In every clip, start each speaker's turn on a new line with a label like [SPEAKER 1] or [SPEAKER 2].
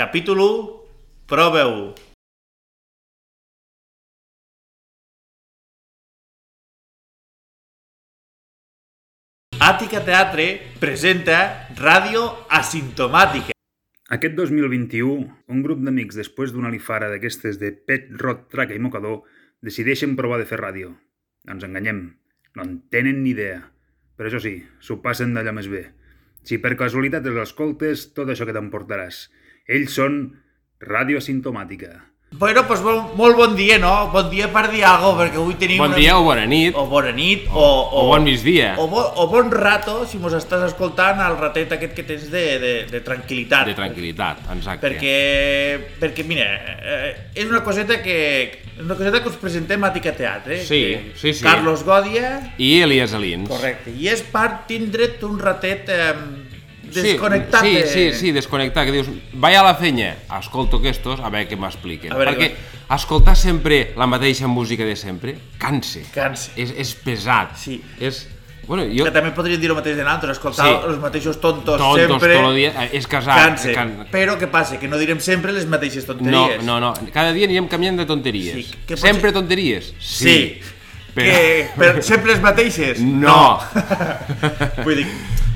[SPEAKER 1] Capítol 1, prova-ho. Àtica Teatre presenta Ràdio Asimptomàtica.
[SPEAKER 2] Aquest 2021, un grup d'amics, després d'una lifara d'aquestes de pet, rot, traca i mocador, decideixen provar de fer ràdio. No ens enganyem, no en tenen ni idea. Però això sí, s'ho passen d'allò més bé. Si per casualitat els escoltes, tot això que t'emportaràs. Ells són Ràdio Asimptomàtica.
[SPEAKER 1] Bueno, doncs molt, molt bon dia, no? Bon dia per dir alguna cosa, perquè avui tenim...
[SPEAKER 3] Bon
[SPEAKER 1] una-
[SPEAKER 3] dia o bona nit,
[SPEAKER 1] O bona nit, o... O,
[SPEAKER 3] o bon migdia.
[SPEAKER 1] O, bo, o bon rato, si mos estàs escoltant, al ratet aquest que tens de, de, de tranquil·litat.
[SPEAKER 3] de tranquil·litat, exacte.
[SPEAKER 1] Perquè, perquè mira, eh, és una coseta que és una coseta que us presentem a Tica Teatre. eh?
[SPEAKER 3] Sí,
[SPEAKER 1] que
[SPEAKER 3] sí, sí.
[SPEAKER 1] Carlos Godia,
[SPEAKER 3] I Elias Alins.
[SPEAKER 1] correcte. I és per tindre't un ratet eh, desconnectat.
[SPEAKER 3] Sí,
[SPEAKER 1] de-
[SPEAKER 3] sí, sí, desconnectat, que dius, vaig a la fenya, escolto aquestos, a veure què m'expliquen.
[SPEAKER 1] A veure
[SPEAKER 3] Perquè
[SPEAKER 1] què-
[SPEAKER 3] escoltar sempre la mateixa música de sempre, cansa.
[SPEAKER 1] Cansa.
[SPEAKER 3] És, és pesat.
[SPEAKER 1] Sí.
[SPEAKER 3] És... Bueno, jo...
[SPEAKER 1] Que també podríem dir el mateix de nosaltres, escoltar
[SPEAKER 3] Sí.
[SPEAKER 1] els mateixos tontos,
[SPEAKER 3] Tontos,
[SPEAKER 1] sempre.
[SPEAKER 3] tot el dia, eh, és casat,
[SPEAKER 1] Cansa.
[SPEAKER 3] can-
[SPEAKER 1] Però què passa? Que no direm sempre les mateixes
[SPEAKER 3] No,
[SPEAKER 1] tonteries.
[SPEAKER 3] no, no, cada dia anirem canviant de tonteries.
[SPEAKER 1] Sí, que pot
[SPEAKER 3] Sempre
[SPEAKER 1] ser-
[SPEAKER 3] tonteries?
[SPEAKER 1] Sí.
[SPEAKER 3] Però...
[SPEAKER 1] Que, però sempre les mateixes?
[SPEAKER 3] No.
[SPEAKER 1] Vull dir,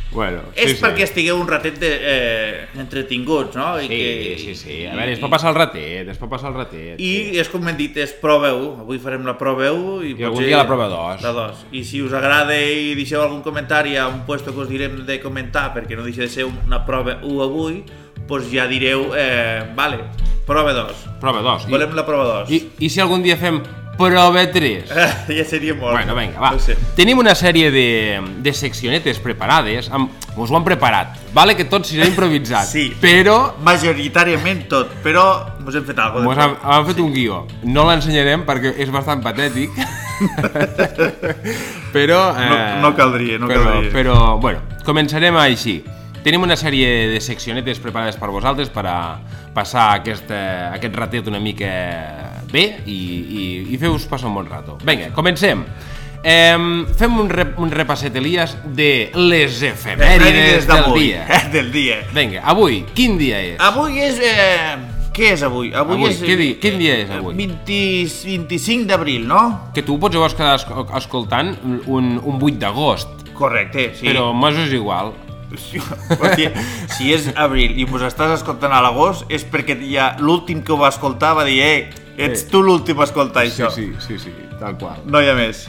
[SPEAKER 3] Bueno,
[SPEAKER 1] és
[SPEAKER 3] sí, sí.
[SPEAKER 1] perquè estigueu un ratet de, eh, entretinguts, no? I
[SPEAKER 3] Sí,
[SPEAKER 1] que,
[SPEAKER 3] sí, sí. A veure, es pot passar el ratet, es pot passar el ratet.
[SPEAKER 1] I és com hem dit, és prova 1. Avui farem la prova 1 i,
[SPEAKER 3] I algun dia la prova dos.
[SPEAKER 1] La 2. I si us agrada i deixeu algun comentari a un puesto que us direm de comentar, perquè no deixa de ser una prova 1 avui, doncs ja direu, eh, vale, prova 2.
[SPEAKER 3] Prova dos. I,
[SPEAKER 1] Volem la prova 2.
[SPEAKER 3] i, I si algun dia fem prova tres?
[SPEAKER 1] ja seria molt.
[SPEAKER 3] Bueno, vinga, va.
[SPEAKER 1] No ho sé.
[SPEAKER 3] Tenim una sèrie de, de seccionetes preparades. Amb, us ho han preparat. Vale que tot serà improvisat.
[SPEAKER 1] Sí.
[SPEAKER 3] Però
[SPEAKER 1] Majoritàriament tot, però mos hem fet alguna
[SPEAKER 3] Mos
[SPEAKER 1] cosa.
[SPEAKER 3] han, han fet un guió. No l'ensenyarem perquè és bastant patètic. però... eh,
[SPEAKER 1] No- no caldria, no
[SPEAKER 3] però,
[SPEAKER 1] caldria.
[SPEAKER 3] Però, bueno, començarem així. Tenim una sèrie de seccionetes preparades per vosaltres per a passar aquest, eh, aquest ratet una mica bé i, i, i fer-vos passar un bon rato. Vinga, comencem. Em, fem un, rep, un repasset, Elias, de les
[SPEAKER 1] Eh,
[SPEAKER 3] efemèrides del
[SPEAKER 1] d'avui,
[SPEAKER 3] dia.
[SPEAKER 1] del dia.
[SPEAKER 3] Vinga, avui, quin dia és?
[SPEAKER 1] Avui és... Eh, què és avui?
[SPEAKER 3] Avui, què di- quin dia és avui?
[SPEAKER 1] 20, 25 d'abril, no?
[SPEAKER 3] que tu pots llavors quedar esc- escoltant un, un 8 d'agost,
[SPEAKER 1] Correcte,
[SPEAKER 3] sí.
[SPEAKER 1] sí.
[SPEAKER 3] però mos és igual.
[SPEAKER 1] Hòstia, si és abril i vos estàs escoltant a l'agost és perquè ja l'últim que ho va escoltar va dir «Ei, ets tu l'últim a escoltar això».
[SPEAKER 3] Eh. sí, sí, tal qual.
[SPEAKER 1] No hi ha més.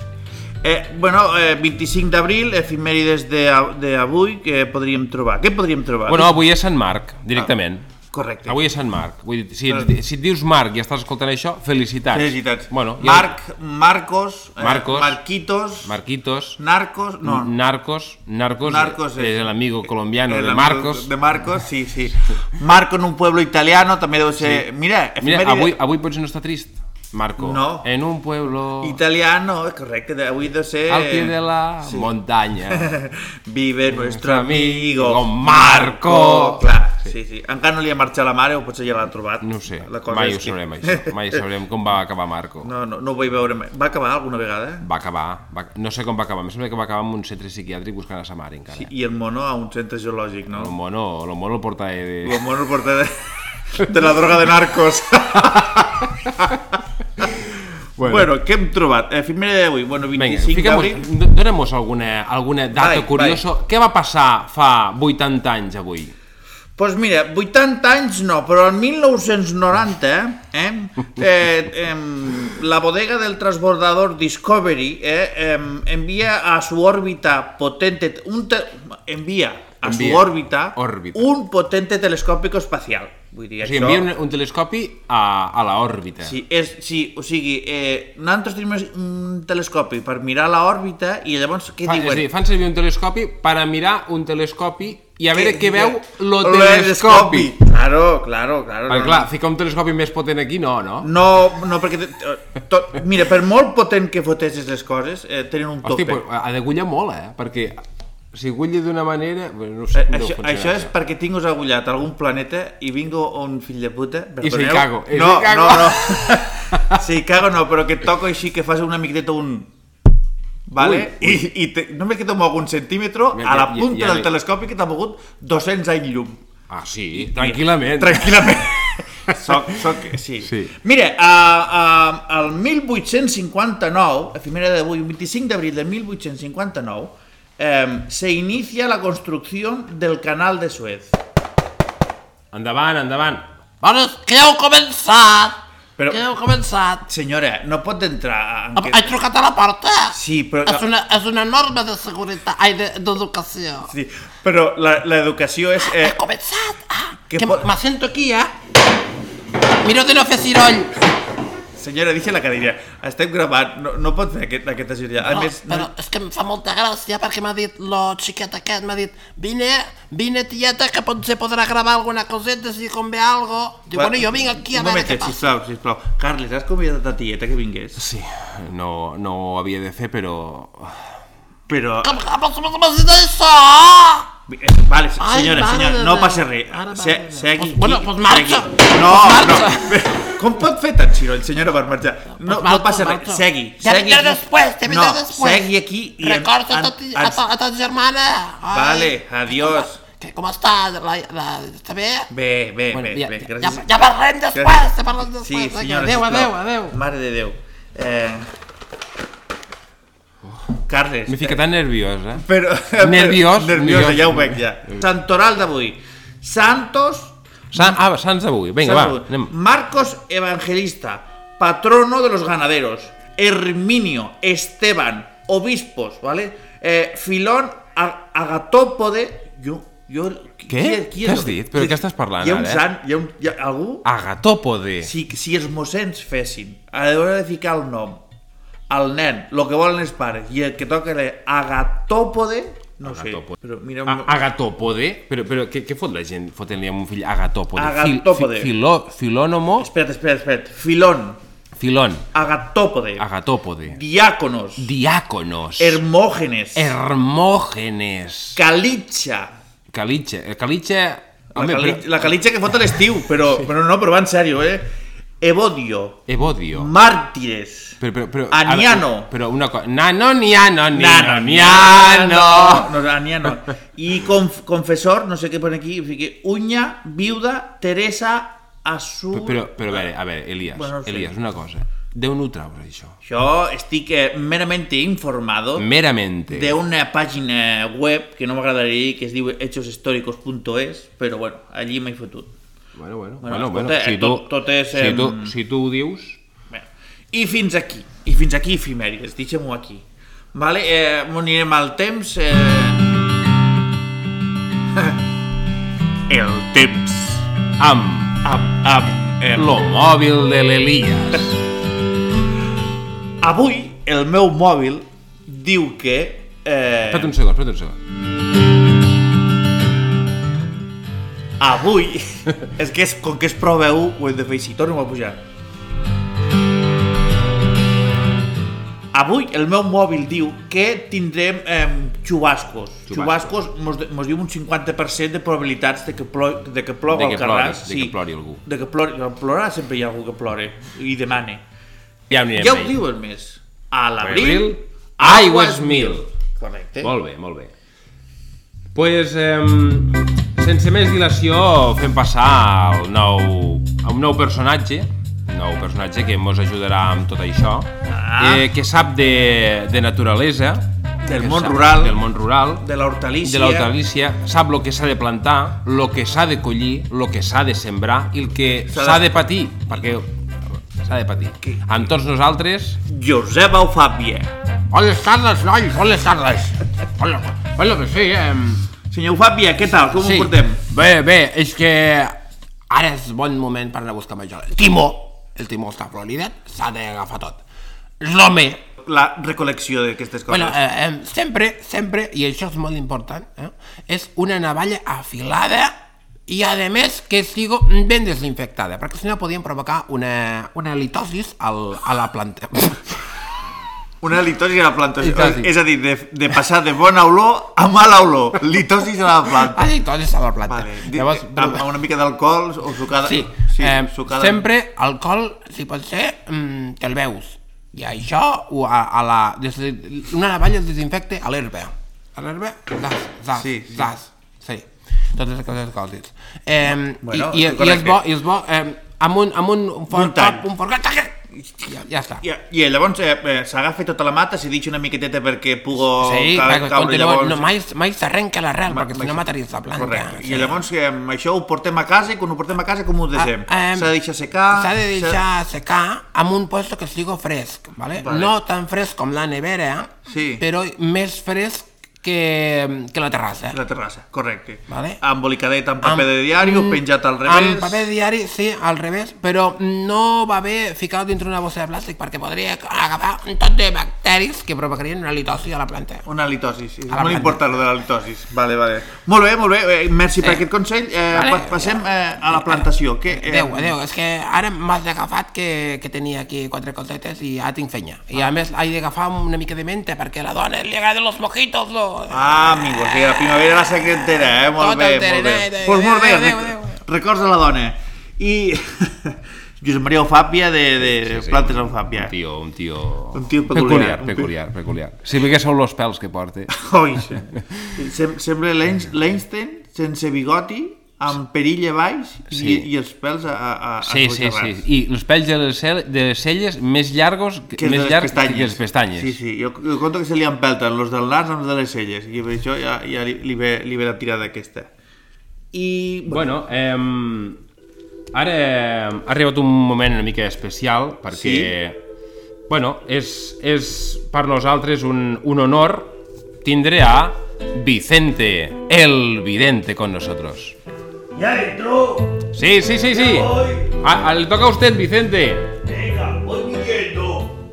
[SPEAKER 1] Eh, bueno, eh, 25 d'abril, efimèrides de- d'avui, que podríem trobar? Què podríem trobar?
[SPEAKER 3] Bueno, avui és Sant Marc, directament. Ah.
[SPEAKER 1] Correcte.
[SPEAKER 3] Avui és Sant Marc. Vull dir, si, et- si et dius Marc i estàs escoltant això, felicitats.
[SPEAKER 1] Ah. Felicitats.
[SPEAKER 3] Bueno, jo-
[SPEAKER 1] Marc, Marcos, eh,
[SPEAKER 3] Marcos.
[SPEAKER 1] Marquitos,
[SPEAKER 3] Marquitos,
[SPEAKER 1] Narcos, no,
[SPEAKER 3] Narcos, Narcos,
[SPEAKER 1] Narcos
[SPEAKER 3] eh,
[SPEAKER 1] és-
[SPEAKER 3] és el amigo colombiano
[SPEAKER 1] El
[SPEAKER 3] de
[SPEAKER 1] amigo
[SPEAKER 3] Marcos.
[SPEAKER 1] De Marcos, sí, sí. Marco en un pueblo italiano també deu ser... Sí. Mira,
[SPEAKER 3] Mira,
[SPEAKER 1] efemèride-
[SPEAKER 3] avui, avui potser no està trist, Marco.
[SPEAKER 1] No.
[SPEAKER 3] En un pueblo
[SPEAKER 1] Italiano, és correcte, de- avui deu ser...
[SPEAKER 3] al pie de la
[SPEAKER 1] Sí.
[SPEAKER 3] montaña.
[SPEAKER 1] Vive nuestro amigo
[SPEAKER 3] amigo Marco.
[SPEAKER 1] Clar, sí, sí. Encara no li ha marxat la mare o potser ja l'ha trobat.
[SPEAKER 3] No ho sé,
[SPEAKER 1] La cosa
[SPEAKER 3] mai
[SPEAKER 1] és
[SPEAKER 3] ho sabrem això, mai sabrem com va acabar Marco.
[SPEAKER 1] No, no, no ho vaig veure mai. Va acabar alguna vegada? eh?
[SPEAKER 3] va acabar, va, no sé com va acabar, em sembla que va acabar amb un centre psiquiàtric buscant a sa mare encara.
[SPEAKER 1] Sí,
[SPEAKER 3] Sí.
[SPEAKER 1] I el mono a un centre geològic, no?
[SPEAKER 3] El mono, el mono el portava de...
[SPEAKER 1] El mono porta de, de la droga de narcos. bueno. bueno, què hem trobat? Efimera d'avui, bueno,
[SPEAKER 3] Vinga,
[SPEAKER 1] 25 d'abril.
[SPEAKER 3] fiquem-nos, do- donem-nos alguna, alguna data
[SPEAKER 1] Vai,
[SPEAKER 3] curiosa. Què va passar fa 80 anys avui?
[SPEAKER 1] Doncs pues mira, 80 anys no, però el 1990, eh, eh, eh, la bodega del transbordador Discovery eh, eh, envia a su órbita potente... Un te- envia a su
[SPEAKER 3] Envia.
[SPEAKER 1] òrbita,
[SPEAKER 3] Òrbita.
[SPEAKER 1] un potente telescòpic espacial. Vull dir,
[SPEAKER 3] O sigui,
[SPEAKER 1] això...
[SPEAKER 3] envia un, un telescopi a, a la òrbita.
[SPEAKER 1] Sí, és, sí, o sigui, eh, nosaltres tenim un telescopi per mirar l'òrbita i llavors què
[SPEAKER 3] Fa, és a
[SPEAKER 1] diuen?
[SPEAKER 3] dir, fan servir un telescopi per a mirar un telescopi i a veure què veu lo
[SPEAKER 1] Lo
[SPEAKER 3] telescopi.
[SPEAKER 1] Claro, claro, claro.
[SPEAKER 3] Perquè
[SPEAKER 1] no,
[SPEAKER 3] clar, ficar un telescopi més potent aquí no, no?
[SPEAKER 1] No, no, perquè... te- eh, Tot, mira, per molt potent que fotessis les coses, eh, tenen un tope.
[SPEAKER 3] Hosti, però ha d'agullar molt, eh? Perquè si agulla d'una manera... bé, No
[SPEAKER 1] Eh,
[SPEAKER 3] sé, com deu
[SPEAKER 1] això,
[SPEAKER 3] funcionar
[SPEAKER 1] això és perquè tinc us agullat a algun planeta i vingo un fill de puta...
[SPEAKER 3] I se
[SPEAKER 1] perdoneu.
[SPEAKER 3] cago, i se
[SPEAKER 1] No,
[SPEAKER 3] cago.
[SPEAKER 1] no, no. Sí, cago no, però que toco així, que fas una miqueta un... Vale?
[SPEAKER 3] Ui,
[SPEAKER 1] I, i te, només que te mou un centímetre
[SPEAKER 3] Ja,
[SPEAKER 1] a la
[SPEAKER 3] ja, ja,
[SPEAKER 1] punta
[SPEAKER 3] ja
[SPEAKER 1] del
[SPEAKER 3] ve.
[SPEAKER 1] telescopi que t'ha mogut 200 anys llum.
[SPEAKER 3] Ah, sí, tranquil·lament.
[SPEAKER 1] Tranquil·lament. soc, soc, sí.
[SPEAKER 3] Sí.
[SPEAKER 1] Mira, a, a, el 1859, efemera d'avui, 25 d'abril de 1859, eh, se inicia la construcción del canal de Suez.
[SPEAKER 3] Endavant, endavant.
[SPEAKER 4] Vamos, que ja heu començat!
[SPEAKER 1] Però-
[SPEAKER 4] Que ja heu començat!
[SPEAKER 1] Senyora, no pot entrar... En
[SPEAKER 4] He he trucat a la porta!
[SPEAKER 1] Sí, però...
[SPEAKER 4] És una, és una norma de seguretat, ai, de- d'educació. De,
[SPEAKER 1] Sí, però la- l'educació és... Eh,
[SPEAKER 4] He començat! Ah,
[SPEAKER 1] Què
[SPEAKER 4] que
[SPEAKER 1] pot-
[SPEAKER 4] m'assento aquí, eh? Miro de no fer ciroll.
[SPEAKER 1] senyora, deixa la cadira. Estem gravant, no, no pot fer aquest, aquesta ajuda. A
[SPEAKER 4] No,
[SPEAKER 1] més, no,
[SPEAKER 4] però és que em fa molta gràcia perquè m'ha dit lo xiquet aquest, m'ha dit vine, vine tieta que potser podrà gravar alguna coseta si convé algo. Diu, bueno, jo vinc aquí a
[SPEAKER 1] un
[SPEAKER 4] veure
[SPEAKER 1] momentet,
[SPEAKER 4] què passa.
[SPEAKER 1] sisplau, sisplau. Carles, has convidat a ta tieta que vingués?
[SPEAKER 3] Sí, no, no ho havia de fer, però...
[SPEAKER 1] Però...
[SPEAKER 4] Com que passa passa passa d'això?
[SPEAKER 1] Eh, Vale, se-
[SPEAKER 4] Ai,
[SPEAKER 1] senyora,
[SPEAKER 4] mare
[SPEAKER 1] senyora,
[SPEAKER 4] de
[SPEAKER 1] no
[SPEAKER 4] Déu.
[SPEAKER 1] passa res.
[SPEAKER 4] Ara,
[SPEAKER 1] Se,
[SPEAKER 4] mare de
[SPEAKER 1] se
[SPEAKER 4] Déu.
[SPEAKER 1] aquí,
[SPEAKER 4] Pues, bueno,
[SPEAKER 1] aquí,
[SPEAKER 4] pues marxa.
[SPEAKER 1] aquí. No,
[SPEAKER 4] Pues
[SPEAKER 1] no. Com pot fer tant ciroll, senyora, per marxar? No,
[SPEAKER 4] Pues
[SPEAKER 1] no
[SPEAKER 4] marxo,
[SPEAKER 1] passa res,
[SPEAKER 4] marxo.
[SPEAKER 1] segui.
[SPEAKER 4] Ja
[SPEAKER 1] segui
[SPEAKER 4] vindré
[SPEAKER 1] aquí.
[SPEAKER 4] després, ja vindré
[SPEAKER 1] no,
[SPEAKER 4] després.
[SPEAKER 1] segui aquí i... en- en-
[SPEAKER 4] Recorda a, ta, a,
[SPEAKER 1] ens-
[SPEAKER 4] ta, a ta germana. Ai,
[SPEAKER 1] Vale, adiós.
[SPEAKER 4] Que com està? La, la, està bé?
[SPEAKER 1] Bé, bé, bé,
[SPEAKER 4] ja,
[SPEAKER 1] bé,
[SPEAKER 4] ja,
[SPEAKER 1] gràcies.
[SPEAKER 4] ja parlem després, ja parlem després.
[SPEAKER 1] Sí,
[SPEAKER 4] Vinga,
[SPEAKER 1] senyora,
[SPEAKER 4] adéu,
[SPEAKER 1] sisplau.
[SPEAKER 4] adéu, adéu.
[SPEAKER 1] Mare de Déu. Eh... Carles.
[SPEAKER 3] M'he ficat tan nerviós, eh?
[SPEAKER 1] Però,
[SPEAKER 3] Nerviós,
[SPEAKER 1] nerviosa,
[SPEAKER 3] nerviós.
[SPEAKER 1] ja ho veig, ja. Santoral d'avui. Santos
[SPEAKER 3] San, ah, Sants d'avui. Vinga, va,
[SPEAKER 1] Salud.
[SPEAKER 3] anem.
[SPEAKER 1] Marcos Evangelista, patrono de los ganaderos. Herminio, Esteban, obispos, ¿vale? Eh, Filón, A- Agatópode. Yo, yo.
[SPEAKER 3] Què? Què has dit? Però què estàs parlant,
[SPEAKER 1] Hi ha un
[SPEAKER 3] ara, eh? Ah,
[SPEAKER 1] sant, hi ha, un, hi ha algú...
[SPEAKER 3] Agatòpode.
[SPEAKER 1] Si, si els mossens fessin, a l'hora de ficar el nom, al nen, el que volen els pares, i el que toca l'agatòpode, no
[SPEAKER 3] Agatòpode.
[SPEAKER 1] sé, però mira...
[SPEAKER 3] A- Agatòpode? Però, però què, què fot la gent fotent-li a un fill Agatòpode? Fil-
[SPEAKER 1] Agatòpode.
[SPEAKER 3] fi- filó, filònomo?
[SPEAKER 1] Espera't, espera't, espera't. Filón,
[SPEAKER 3] Filón.
[SPEAKER 1] agatòpode,
[SPEAKER 3] Agatòpode.
[SPEAKER 1] diáconos,
[SPEAKER 3] Diáconos.
[SPEAKER 1] Hermógenes.
[SPEAKER 3] Hermógenes.
[SPEAKER 1] Calitxa.
[SPEAKER 3] Caliche. El Caliche...
[SPEAKER 1] La,
[SPEAKER 3] Home,
[SPEAKER 1] cali
[SPEAKER 3] però-
[SPEAKER 1] la calitxa que fot a l'estiu, però, però no, però va en sèrio, eh? Evodio.
[SPEAKER 3] Evodio.
[SPEAKER 1] Mártires.
[SPEAKER 3] Però, però, però, a-
[SPEAKER 1] Aniano.
[SPEAKER 3] Però una cosa... Nano, niano, niano,
[SPEAKER 1] Nano,
[SPEAKER 3] niano.
[SPEAKER 1] No, no, Aniano. I conf confessor, no sé què pone aquí, o sigui, Uña, viuda, Teresa, Azul...
[SPEAKER 3] Però, però a veure, a veure, Elias,
[SPEAKER 1] Bueno, no
[SPEAKER 3] bueno,
[SPEAKER 1] sé.
[SPEAKER 3] Elias, una cosa. Déu no ho traus, això.
[SPEAKER 1] Jo estic eh, meramente informado
[SPEAKER 3] Meramente.
[SPEAKER 1] d'una pàgina web que no m'agradaria dir, que es diu hechoshistoricos.es, però bueno, allí m'he fotut.
[SPEAKER 3] Bueno, bueno,
[SPEAKER 1] Bueno,
[SPEAKER 3] bueno, bueno.
[SPEAKER 1] escolta,
[SPEAKER 3] Si
[SPEAKER 1] eh,
[SPEAKER 3] tu,
[SPEAKER 1] tot- tot és,
[SPEAKER 3] si,
[SPEAKER 1] em,
[SPEAKER 3] tu, si tu ho dius...
[SPEAKER 1] Bé, I fins aquí, i fins aquí efimèrides, deixem-ho aquí. Vale? Eh, anirem al temps... Eh... El temps.
[SPEAKER 3] Amb
[SPEAKER 1] Am, am, em.
[SPEAKER 3] lo mòbil de l'Elias.
[SPEAKER 1] Avui el meu mòbil diu que... Eh,
[SPEAKER 3] Espera't un segon, espera't un segon.
[SPEAKER 1] avui... és que és, com que és prova 1, ho hem de fer així. Torno a pujar. Avui el meu mòbil diu que tindrem eh, xubascos.
[SPEAKER 3] Chubascos.
[SPEAKER 1] Xubascos mos, de- mos diu un 50% de probabilitats de que, plo, de que plogui
[SPEAKER 3] De que
[SPEAKER 1] al carrer.
[SPEAKER 3] plori, de que plori algú.
[SPEAKER 1] De que plori, plorarà sempre hi ha algú que plore i demane.
[SPEAKER 3] Ja ho anirem
[SPEAKER 1] Ja ho
[SPEAKER 3] veient.
[SPEAKER 1] diu el mes. A
[SPEAKER 3] Abril,
[SPEAKER 1] l'abril,
[SPEAKER 3] aigües mil.
[SPEAKER 1] Correcte.
[SPEAKER 3] Molt bé, molt bé. Pues, eh, sense més dilació, fem passar al nou, a un nou personatge, nou personatge que ens ajudarà amb tot això,
[SPEAKER 1] Ah.
[SPEAKER 3] eh, que sap de, de naturalesa,
[SPEAKER 1] Del
[SPEAKER 3] que
[SPEAKER 1] món
[SPEAKER 3] sap
[SPEAKER 1] rural.
[SPEAKER 3] del món rural,
[SPEAKER 1] De la hortalícia.
[SPEAKER 3] de l'hortalícia, sap el que s'ha de plantar, el que s'ha de collir, el que s'ha de sembrar i el que
[SPEAKER 1] S'ha de-
[SPEAKER 3] s'ha de patir, perquè s'ha de patir.
[SPEAKER 1] Que-
[SPEAKER 3] Amb tots nosaltres,
[SPEAKER 1] Josep Aufàbia.
[SPEAKER 4] Bones tardes, nois, bones tardes. Hola, hola, que sí, eh?
[SPEAKER 1] Senyor Aufàbia, què tal? Com
[SPEAKER 4] Sí.
[SPEAKER 1] ho portem?
[SPEAKER 4] Bé, bé, és que ara és bon moment per anar a buscar major.
[SPEAKER 3] eh?
[SPEAKER 4] El timó, el timó està floridet, s'ha d'agafar tot. L'home,
[SPEAKER 1] La recol·lecció d'aquestes coses.
[SPEAKER 4] bueno, eh, eh, sempre, sempre, i això és molt important, eh? és una navalla afilada i a més que sigo ben desinfectada, perquè si no podien provocar una, una litosis al, a la planta.
[SPEAKER 1] Una litosi a la plantació.
[SPEAKER 3] Litosi.
[SPEAKER 1] És a dir, de, de passar de bona olor a mala olor. Litosis a la planta.
[SPEAKER 4] Ah, litosis a la planta.
[SPEAKER 1] Vale. Llavors, amb, amb una mica d'alcohol o sucada...
[SPEAKER 4] Sí,
[SPEAKER 1] Ah, sí
[SPEAKER 4] eh,
[SPEAKER 1] sucada...
[SPEAKER 4] sempre alcohol, si pot ser, mm, te'l veus. I això, o a, a la, des de, una navalla es desinfecta a l'herba. A l'herba, zas, zas,
[SPEAKER 1] Sí, sí.
[SPEAKER 4] zas. Sí. totes aquestes coses. Eh,
[SPEAKER 1] Bueno,
[SPEAKER 4] i, i, i, és
[SPEAKER 1] correcte.
[SPEAKER 4] bo, i és bo eh, amb un, amb un, un fort
[SPEAKER 1] Muntant.
[SPEAKER 4] cop, un fort cop, ja, ja està.
[SPEAKER 1] I, i llavors eh, eh, s'agafa tota la mata, s'hi deixa una miqueteta perquè pugo
[SPEAKER 4] Sí,
[SPEAKER 1] ca-
[SPEAKER 4] perquè
[SPEAKER 1] caure
[SPEAKER 4] continua,
[SPEAKER 1] llavors...
[SPEAKER 4] no, mai, mai s'arrenca l'arrel,
[SPEAKER 1] Ma-
[SPEAKER 4] perquè si
[SPEAKER 1] mai-
[SPEAKER 4] no mataria la planta.
[SPEAKER 1] Correcte.
[SPEAKER 4] Sí.
[SPEAKER 1] I llavors eh, això ho portem a casa i quan ho portem a casa com ho desem?
[SPEAKER 4] Ah, em,
[SPEAKER 1] s'ha de deixar secar...
[SPEAKER 4] S'ha de deixar secar amb un puesto que sigo fresc, ¿vale?
[SPEAKER 1] Vale.
[SPEAKER 4] No tan fresc com la nevera,
[SPEAKER 1] Sí.
[SPEAKER 4] però més fresc que, que la terrassa.
[SPEAKER 1] La terrassa, correcte.
[SPEAKER 4] Vale.
[SPEAKER 1] Embolicadet amb paper de diari,
[SPEAKER 4] mm,
[SPEAKER 1] penjat al revés...
[SPEAKER 4] Amb paper de diari, sí, al revés, però no va bé ficar dintre una bossa de plàstic perquè podria agafar un tot de bacteris que provocarien una litosi a la planta.
[SPEAKER 1] Una litosis, és
[SPEAKER 4] A la
[SPEAKER 1] molt
[SPEAKER 4] planta.
[SPEAKER 1] important lo de la litosis. Vale, vale. Molt bé, molt bé, eh, merci per aquest consell. Eh,
[SPEAKER 4] Vale.
[SPEAKER 1] pa- Passem eh, a la plantació. Que, eh,
[SPEAKER 4] Adéu, adéu, és que ara m'has agafat que, que tenia aquí quatre cosetes i ara tinc fenya. I
[SPEAKER 1] Ah.
[SPEAKER 4] a més, he d'agafar una mica de menta perquè a la dona li agraden los mojitos, lo... Tota
[SPEAKER 1] Ah, amigo, sí, la primavera la secretera, eh? Molt
[SPEAKER 4] Tot
[SPEAKER 1] bé,
[SPEAKER 4] el
[SPEAKER 1] molt
[SPEAKER 4] terreny,
[SPEAKER 1] bé.
[SPEAKER 4] adéu,
[SPEAKER 1] Pues molt bé,
[SPEAKER 4] adéu, adéu,
[SPEAKER 1] rec-
[SPEAKER 4] adéu.
[SPEAKER 1] records de la dona. I Josep Maria Ofàpia de, de Plantes amb Fàpia.
[SPEAKER 3] Un tio, un tio...
[SPEAKER 1] Un tio peculiar, un
[SPEAKER 3] Peculiar,
[SPEAKER 1] tio.
[SPEAKER 3] peculiar, peculiar. Si bé que són los pèls que porta.
[SPEAKER 1] Oi, sí. Sem sembla l'Eins- l'Einstein sense bigoti, amb perilla baix i,
[SPEAKER 3] Sí.
[SPEAKER 1] i els pèls a, a, a
[SPEAKER 3] Sí, sí, sí. I els pells de les, cel de les celles més llargos que,
[SPEAKER 1] Que els de
[SPEAKER 3] més
[SPEAKER 1] les
[SPEAKER 3] llargs
[SPEAKER 1] pestanyes.
[SPEAKER 3] que les pestanyes.
[SPEAKER 1] Sí, sí, jo, jo conto que se li empelten los del nas amb els de les celles i per això ja, ja li, li, ve, li ve la tirada aquesta. I...
[SPEAKER 3] Bueno, ehm, ara eh, ha arribat un moment una mica especial perquè, bueno, és, és per nosaltres un, un honor tindre a Vicente, el vidente, con nosotros.
[SPEAKER 5] ¡Ya entró!
[SPEAKER 3] Sí, sí, sí, sí.
[SPEAKER 5] voy.
[SPEAKER 3] A, a- le toca a usted, Vicente.
[SPEAKER 5] Venga, voy midiendo.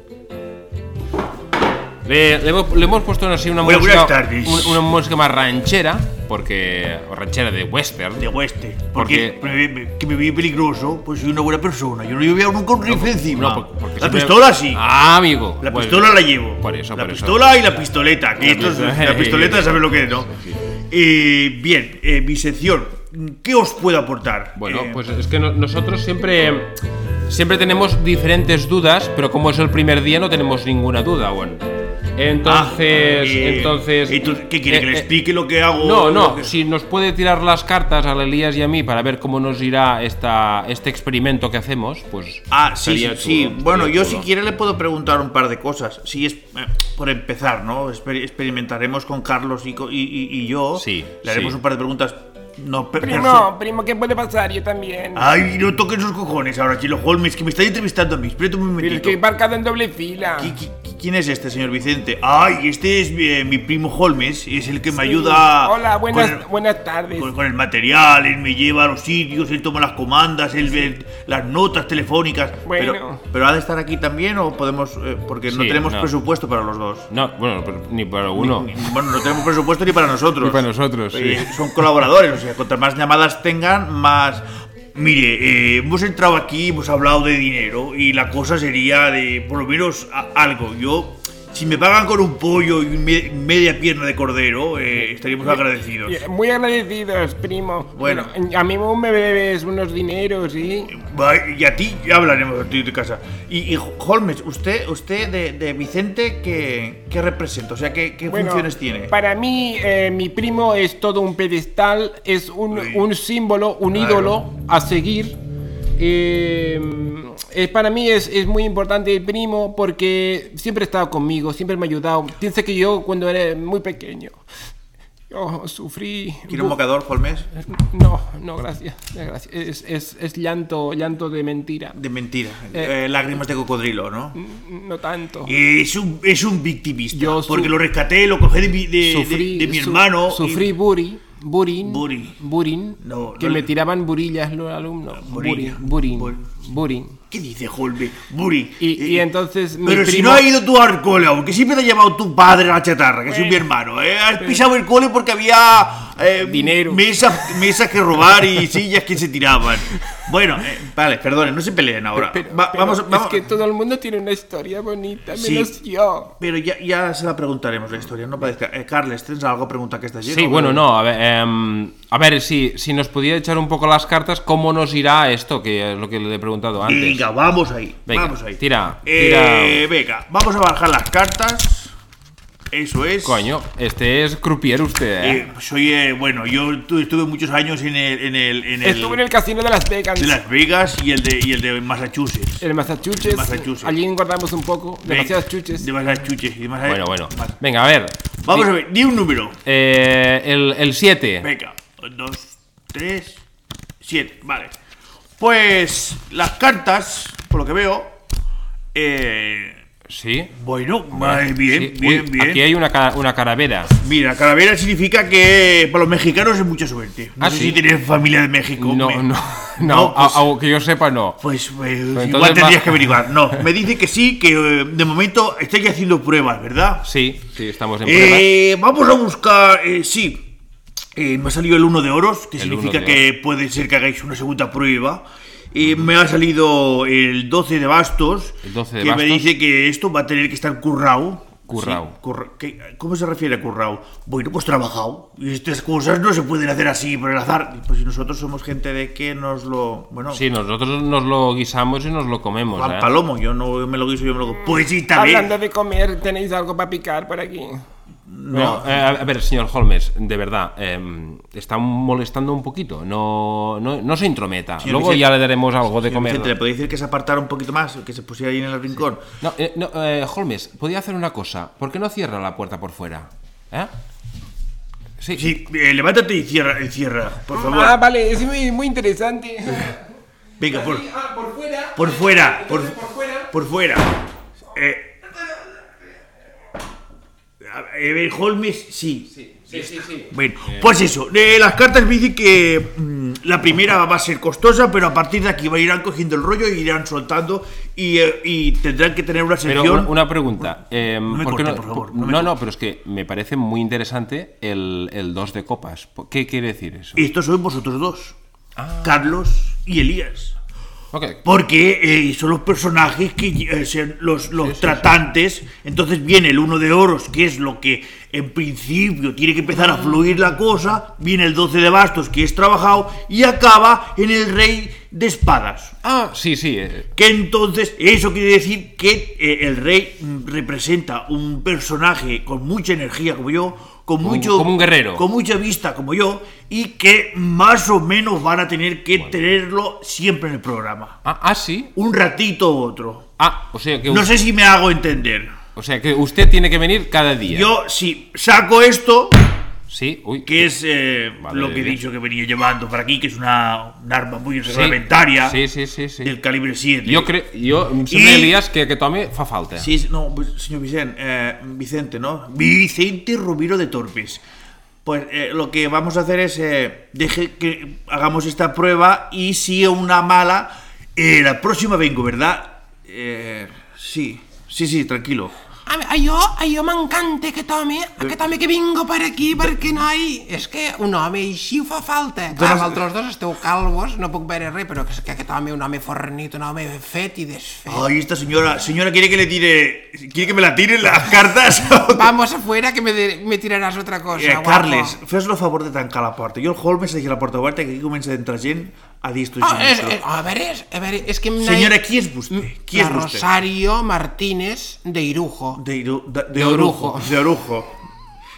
[SPEAKER 3] Le, le hemos- le hemos puesto así una
[SPEAKER 5] Bueno,
[SPEAKER 3] música,
[SPEAKER 5] buenas tardes.
[SPEAKER 3] un- una, música más ranchera, porque o ranchera de western.
[SPEAKER 5] De oeste.
[SPEAKER 3] Porque-
[SPEAKER 5] Porque, me, me- que me vi peligroso, pues soy una buena persona. Yo no llevo nunca un rifle encima.
[SPEAKER 3] No, por- porque
[SPEAKER 5] la
[SPEAKER 3] siempre-
[SPEAKER 5] pistola sí.
[SPEAKER 3] Ah, amigo.
[SPEAKER 5] La
[SPEAKER 3] Bueno,
[SPEAKER 5] pistola la llevo.
[SPEAKER 3] Por eso,
[SPEAKER 5] la
[SPEAKER 3] por eso.
[SPEAKER 5] pistola y la pistoleta. Que
[SPEAKER 3] La
[SPEAKER 5] esto es-
[SPEAKER 3] pistola-
[SPEAKER 5] la pistoleta, ¿sabes lo que es, no?
[SPEAKER 3] Sí, sí.
[SPEAKER 5] Eh, bien, eh, mi sección. ¿Qué os puedo aportar?
[SPEAKER 3] Bueno,
[SPEAKER 5] Eh,
[SPEAKER 3] pues es que no- nosotros siempre siempre tenemos diferentes dudas, pero como es el primer día no tenemos ninguna duda aún.
[SPEAKER 5] ah,
[SPEAKER 3] Entonces,
[SPEAKER 5] eh,
[SPEAKER 3] entonces,
[SPEAKER 5] entonces, ¿Qué quiere?
[SPEAKER 3] eh,
[SPEAKER 5] ¿Que le
[SPEAKER 3] eh,
[SPEAKER 5] explique lo que hago?
[SPEAKER 3] No,
[SPEAKER 5] Lo que-
[SPEAKER 3] no, si nos puede tirar las cartas a Elías y a mí para ver cómo nos irá esta, este experimento que hacemos, pues
[SPEAKER 1] Ah, sí, sí,
[SPEAKER 3] estaría
[SPEAKER 1] sí.
[SPEAKER 3] chulo,
[SPEAKER 1] Bueno,
[SPEAKER 3] estaría
[SPEAKER 1] yo si
[SPEAKER 3] chulo.
[SPEAKER 1] quiere le puedo preguntar un par de cosas. Si es eh, por empezar, ¿no? Exper- experimentaremos con Carlos y, co- y- y- y yo.
[SPEAKER 3] Sí,
[SPEAKER 1] Le haremos
[SPEAKER 3] sí.
[SPEAKER 1] un par de preguntas. No, pe- perso-
[SPEAKER 6] Primo, primo, ¿qué puede pasar? Yo también.
[SPEAKER 1] Ah,
[SPEAKER 5] Ay, no toques esos cojones ahora, Chilo Holmes, que me estáis entrevistando a mí. Espérate un
[SPEAKER 6] Pero
[SPEAKER 5] momentito.
[SPEAKER 6] es que he marcado en doble fila.
[SPEAKER 1] ¿Qui- qui- ¿Quién es este, señor Vicente? Ah,
[SPEAKER 5] Ay, este es mi, mi primo Holmes, es el que me
[SPEAKER 6] Sí.
[SPEAKER 5] ayuda.
[SPEAKER 6] Hola, buenas,
[SPEAKER 5] con el-
[SPEAKER 6] buenas tardes.
[SPEAKER 5] Con, con el material, él me lleva a los sitios, él toma las comandas, él ve las notas telefónicas.
[SPEAKER 6] Bueno.
[SPEAKER 1] pero, pero ha de estar aquí también o podemos... eh, porque no
[SPEAKER 3] Sí,
[SPEAKER 1] tenemos
[SPEAKER 3] no.
[SPEAKER 1] presupuesto para los dos.
[SPEAKER 3] No, bueno, pero ni para uno.
[SPEAKER 1] Ni- Bueno, no tenemos presupuesto ni para nosotros.
[SPEAKER 3] Ni para nosotros, sí.
[SPEAKER 1] Eh, Son colaboradores, o sea, cuantas más llamadas tengan, más...
[SPEAKER 5] Mire, eh, hemos entrado aquí, hemos hablado de dinero y la cosa sería de por lo menos a- algo. Yo, si me pagan con un pollo y me- media pierna de cordero, eh, estaríamos agradecidos.
[SPEAKER 6] Eh, Muy agradecidos, primo.
[SPEAKER 1] Bueno.
[SPEAKER 6] Pero a mí me debes unos dineros, ¿sí?
[SPEAKER 5] Va, Y a ti ya hablaremos a ti de casa.
[SPEAKER 1] Y, y, Holmes, usted, usted de, de Vicente, ¿qué, qué representa? O sea, ¿qué, qué
[SPEAKER 6] Bueno,
[SPEAKER 1] funciones tiene?
[SPEAKER 6] Para mí, eh, mi primo es todo un pedestal, es un, un símbolo, un
[SPEAKER 1] Claro.
[SPEAKER 6] ídolo a seguir. Eh, eh, para mí es, es muy importante el primo porque siempre ha estado conmigo, siempre me ha ayudado. Piensa que yo cuando era muy pequeño, yo sufrí...
[SPEAKER 1] ¿Quiere un mocador, Holmes?
[SPEAKER 6] No, no, gracias. gracias. Es, es- es llanto, llanto de mentira.
[SPEAKER 1] De mentira. Eh, lágrimas de cocodrilo, ¿no?
[SPEAKER 6] No tanto.
[SPEAKER 5] Es un, es un victimista.
[SPEAKER 6] Yo su-
[SPEAKER 5] porque lo rescaté, lo cogí de mi, de- de- de mi
[SPEAKER 6] su-
[SPEAKER 5] hermano. y-
[SPEAKER 6] sufrí buri, burin,
[SPEAKER 5] Buri.
[SPEAKER 6] burin,
[SPEAKER 5] No,
[SPEAKER 6] que
[SPEAKER 5] no Ah,
[SPEAKER 6] me
[SPEAKER 5] le-
[SPEAKER 6] tiraban burillas los alumnos.
[SPEAKER 5] Burilla,
[SPEAKER 6] burin,
[SPEAKER 5] bur-
[SPEAKER 6] burin, burin.
[SPEAKER 5] ¿Qué dice Holmes? Buri.
[SPEAKER 6] Y, y
[SPEAKER 5] eh,
[SPEAKER 6] entonces mi
[SPEAKER 5] Pero si
[SPEAKER 6] primo-
[SPEAKER 5] no ha ido tú al cole, aunque siempre te ha llevado tu padre a la chatarra, que soy mi hermano, ¿eh? Has pisado el cole porque había. eh,
[SPEAKER 6] Dinero.
[SPEAKER 5] Mesas, mesas que robar y sillas que se tiraban. Bueno, eh,
[SPEAKER 1] Vale, perdone, no se peleen ahora.
[SPEAKER 6] Pero-
[SPEAKER 1] Va-
[SPEAKER 6] pero
[SPEAKER 1] vamos, vamos.
[SPEAKER 6] Es que todo el mundo tiene una historia bonita,
[SPEAKER 1] Sí.
[SPEAKER 6] menos yo.
[SPEAKER 1] Pero ya, ya se la preguntaremos la historia, no parezca. Eh, Carles, ¿tienes algo a preguntar que estás
[SPEAKER 3] Sí, bueno, no, a ver, em, a ver si, si nos pudiera echar un poco las cartas, ¿cómo nos irá esto? Que es lo que le he preguntado antes.
[SPEAKER 5] venga, vamos ahí. Eh,
[SPEAKER 3] Venga,
[SPEAKER 5] vamos ahí.
[SPEAKER 3] tira,
[SPEAKER 5] Eh, venga, vamos a bajar las cartas. Eso es.
[SPEAKER 3] Coño, este es croupier usted, ¿eh?
[SPEAKER 5] Eh, soy, eh, bueno, yo tu- estuve muchos años en el. En el, en el
[SPEAKER 6] Estuve en el casino de Las Vegas.
[SPEAKER 5] de Las Vegas y el de, y el de Massachusetts.
[SPEAKER 6] En Massachusetts,
[SPEAKER 5] Massachusetts.
[SPEAKER 6] allí guardamos un poco, demasiadas chuches.
[SPEAKER 5] De Massachusetts. y Massa-
[SPEAKER 3] Bueno, bueno.
[SPEAKER 5] Mas-
[SPEAKER 3] Venga, a ver.
[SPEAKER 5] Vamos a ver, di un número.
[SPEAKER 3] Eh, el- el 7.
[SPEAKER 5] Venga, un, dos, tres, siete. Vale. Pues las cartas, por lo que veo. Eh,
[SPEAKER 3] Sí.
[SPEAKER 5] bueno, vale, bien,
[SPEAKER 3] Sí.
[SPEAKER 5] bien,
[SPEAKER 3] Uy,
[SPEAKER 5] bien.
[SPEAKER 3] Aquí hay una, ca- una caravera.
[SPEAKER 5] Mira, calavera significa que para los mexicanos es mucha suerte. No
[SPEAKER 3] Ah,
[SPEAKER 5] sé
[SPEAKER 3] ¿sí?
[SPEAKER 5] si tienes familia de México.
[SPEAKER 3] No,
[SPEAKER 5] me-
[SPEAKER 3] no, no.
[SPEAKER 5] pues-
[SPEAKER 3] a- aunque yo sepa, no.
[SPEAKER 5] Pues, eh,
[SPEAKER 3] entonces
[SPEAKER 5] igual tendrías
[SPEAKER 3] va-
[SPEAKER 5] que averiguar. No, me dice que sí, que eh, de momento estáis haciendo pruebas, ¿verdad?
[SPEAKER 3] Sí, sí, estamos en pruebas.
[SPEAKER 5] Eh, vamos a buscar. eh, sí. Eh, me ha salido el 1 de oros, que
[SPEAKER 3] El
[SPEAKER 5] significa
[SPEAKER 3] uno de
[SPEAKER 5] que puede ser que hagáis una segunda prueba. Eh, me ha salido el 12 de bastos,
[SPEAKER 3] El 12 de
[SPEAKER 5] que me
[SPEAKER 3] bastos.
[SPEAKER 5] dice que esto va a tener que estar currao.
[SPEAKER 3] Currao.
[SPEAKER 5] Sí, curra- ¿qué- ¿Cómo se refiere a currao? Bueno, pues trabajado. Y estas cosas no se pueden hacer así por el azar. Pues si nosotros somos gente de que nos lo. Bueno,
[SPEAKER 3] Sí, nosotros nos lo guisamos y nos lo comemos,
[SPEAKER 5] Juan
[SPEAKER 3] ¿eh?
[SPEAKER 5] Palomo, yo no me lo guiso, yo me lo como. Pues sí, también.
[SPEAKER 6] Hablando de comer, ¿tenéis algo para picar por aquí?
[SPEAKER 3] No, eh, a a ver, señor Holmes, de verdad, eh, está molestando un poquito. No, no, no se intrometa.
[SPEAKER 5] Señor
[SPEAKER 3] Luego
[SPEAKER 5] Vicente-
[SPEAKER 3] ya le daremos algo de comer.
[SPEAKER 5] Vicente, ¿le podéis decir que se apartara un poquito más? Que se pusiera ahí en el rincón.
[SPEAKER 3] No, eh, no, eh, Holmes, podía hacer una cosa. ¿Por qué no cierra la puerta por fuera? ¿Eh? Sí.
[SPEAKER 5] Sí, eh, levántate y cierra, y cierra, por favor.
[SPEAKER 6] Ah, vale, es muy, muy interesante.
[SPEAKER 5] Venga, por,
[SPEAKER 6] Ah, por fuera.
[SPEAKER 5] por fuera, por,
[SPEAKER 6] Por fuera.
[SPEAKER 5] por fuera. Eh, a ver, Holmes, sí.
[SPEAKER 6] Sí, sí, sí.
[SPEAKER 5] Bueno, pues eso, eh, las cartas me dicen que mm, la primera va a ser costosa, pero a partir de aquí irán cogiendo el rollo y irán soltando y, eh, y tendrán que tener una
[SPEAKER 3] Pero
[SPEAKER 5] sección.
[SPEAKER 3] una, una pregunta. eh,
[SPEAKER 5] me
[SPEAKER 3] ¿por qué
[SPEAKER 5] corte, por favor, no
[SPEAKER 3] No,
[SPEAKER 5] me
[SPEAKER 3] no,
[SPEAKER 5] corte.
[SPEAKER 3] pero es que me parece muy interesante el, el dos de copas. ¿Por- ¿Qué quiere decir eso?
[SPEAKER 5] Estos sois vosotros dos,
[SPEAKER 3] Ah.
[SPEAKER 5] Carlos y Elías.
[SPEAKER 3] Ok.
[SPEAKER 5] Porque eh, son los personajes que eh, sean los, los tratantes. Entonces viene el uno de oros, que es lo que en principio tiene que empezar
[SPEAKER 3] Ah.
[SPEAKER 5] a fluir la cosa. Viene el 12 de bastos, que es trabajado. Y acaba en el rey de espadas.
[SPEAKER 3] Ah, sí, sí. eh,
[SPEAKER 5] Que entonces eso quiere decir que eh, el rey mm, representa un personaje con mucha energía como yo, con
[SPEAKER 3] Como un-
[SPEAKER 5] mucho
[SPEAKER 3] como un guerrero.
[SPEAKER 5] con mucha vista como yo y que más o menos van a tener que tenerlo siempre en el programa,
[SPEAKER 3] Ah, ah, sí.
[SPEAKER 5] un ratito u otro.
[SPEAKER 3] Ah, o sea que,
[SPEAKER 5] No
[SPEAKER 3] us-
[SPEAKER 5] sé si me hago entender.
[SPEAKER 3] o sea que usted tiene que venir cada día.
[SPEAKER 5] Yo si saco esto,
[SPEAKER 3] Sí, uy.
[SPEAKER 5] que es eh,
[SPEAKER 3] Vale,
[SPEAKER 5] lo que he
[SPEAKER 3] bien.
[SPEAKER 5] dicho que venía llevando para aquí, que es una un arma muy reglamentaria
[SPEAKER 3] Sí, sí, sí, sí.
[SPEAKER 5] del calibre 7.
[SPEAKER 3] Yo creo. Yo, si
[SPEAKER 5] Y-
[SPEAKER 3] me lías que, que tome, fa falta.
[SPEAKER 5] Sí, sí, no, pues, señor Vicente, eh, Vicente, ¿no? Vicente Rubiro de Torpes. Pues eh, lo que vamos a hacer es, eh, deje que hagamos esta prueba y si una mala, eh, la próxima vengo, ¿verdad? Eh, sí, sí, sí, tranquilo.
[SPEAKER 4] A, a yo, a yo m'encanta que tome, a que tome que vingo per aquí perquè, noi, és que un home així fa falta. Clar,
[SPEAKER 5] Dones-
[SPEAKER 4] vosaltres dos esteu calvos, no puc veure res, però és que aquest home, un home fornit, un home fet i desfet.
[SPEAKER 5] Ay, esta señora, señora quiere que le tire, quiere que me la tiren las cartas.
[SPEAKER 4] Vamos afuera que me, de- me tiraràs otra cosa,
[SPEAKER 5] Eh,
[SPEAKER 4] guapo.
[SPEAKER 5] Carles, fes el favor de tancar la porta. Jo el Holmes deixo la porta oberta que aquí comença a entrar gent a distro i
[SPEAKER 4] Oh, és,
[SPEAKER 5] sinistro.
[SPEAKER 4] és, a veure, és, a veure, és que... em-
[SPEAKER 5] Senyora, qui és vostè? Qui
[SPEAKER 4] la
[SPEAKER 5] és vostè?
[SPEAKER 4] Rosario Martínez de Irujo.
[SPEAKER 5] De, Iru- de, de,
[SPEAKER 4] De
[SPEAKER 5] Orujo.
[SPEAKER 4] Orujo.
[SPEAKER 5] De Orujo.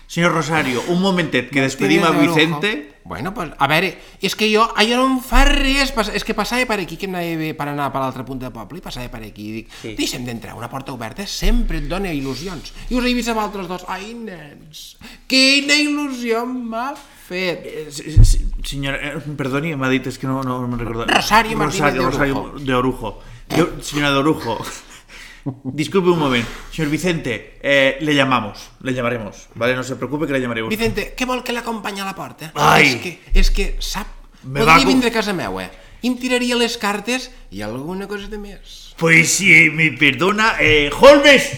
[SPEAKER 5] Señor Rosario, un momentet, que despedim a
[SPEAKER 4] Tienes de
[SPEAKER 5] Vicente.
[SPEAKER 4] lujo. Bueno, pues, a veure, és que jo, allò no em fa res, pas- és que passava per aquí, que em anava bé per anar per l'altra punta del poble, i passava per aquí, i dic, sí. deixa'm d'entrar, una porta oberta sempre et dona il·lusions. I us he vist amb altres dos, ai, nens, quina il·lusió m'ha fet.
[SPEAKER 5] Eh, se- se- Señora, eh, perdoni, m'ha dit, és que no, no me recordo.
[SPEAKER 4] Rosario Martínez de
[SPEAKER 5] Rosario
[SPEAKER 4] Orujo.
[SPEAKER 5] de Orujo. Yo- señora de Orujo, disculpe un momento. Señor Vicente, eh, le llamamos, le llamaremos, ¿vale? No se preocupe que le llamaremos.
[SPEAKER 4] Vicente, què vol que l'acompanyi a la porta?
[SPEAKER 5] Ai.
[SPEAKER 4] És que, és que sap,
[SPEAKER 5] Me va
[SPEAKER 4] podria
[SPEAKER 5] com-
[SPEAKER 4] vindre a casa meua, i em tiraria les cartes i alguna cosa de més.
[SPEAKER 5] Pues si me perdona, eh, Holmes,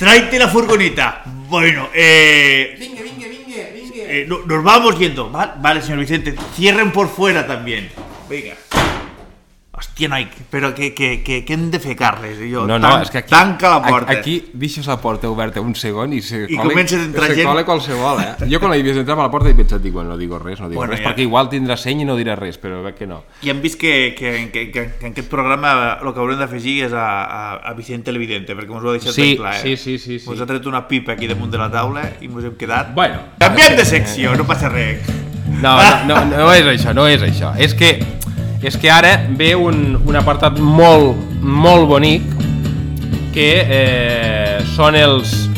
[SPEAKER 5] tráete la furgoneta. Bueno, eh,
[SPEAKER 4] Vinga, vinga, vinga, vinga.
[SPEAKER 5] eh, no- nos vamos yendo. Va- Vale, señor Vicente, cierren por fuera también. Venga. Hòstia, noi, però que, que, que, que hem de fer, Carles? I Jo,
[SPEAKER 3] No, no,
[SPEAKER 5] tan,
[SPEAKER 3] és que aquí...
[SPEAKER 5] Tanca la porta.
[SPEAKER 3] a- Aquí deixes la porta oberta un segon i se
[SPEAKER 5] I comença a entrar
[SPEAKER 3] se
[SPEAKER 5] gent.
[SPEAKER 3] cola qualsevol, eh? Jo quan l'he vist entrar per la porta he pensat, dic, bueno, no digo res, no digo
[SPEAKER 5] Bueno,
[SPEAKER 3] res,
[SPEAKER 5] ja.
[SPEAKER 3] perquè igual tindrà seny i no dirà res, però veig que no.
[SPEAKER 5] I hem vist que, que, que, que, que en aquest programa el que haurem d'afegir és a, a, a Vicente el Vidente, perquè ens ho ha deixat
[SPEAKER 3] Sí,
[SPEAKER 5] ben clar.
[SPEAKER 3] sí,
[SPEAKER 5] Eh?
[SPEAKER 3] sí, sí, sí.
[SPEAKER 5] Ens ha tret una pipa aquí damunt de la taula i ens hem quedat...
[SPEAKER 3] Bueno.
[SPEAKER 5] Canviem de secció, no passa res.
[SPEAKER 3] No, no, no, no és això, no és això. És que, és que ara ve un, un apartat molt, molt bonic que eh, són els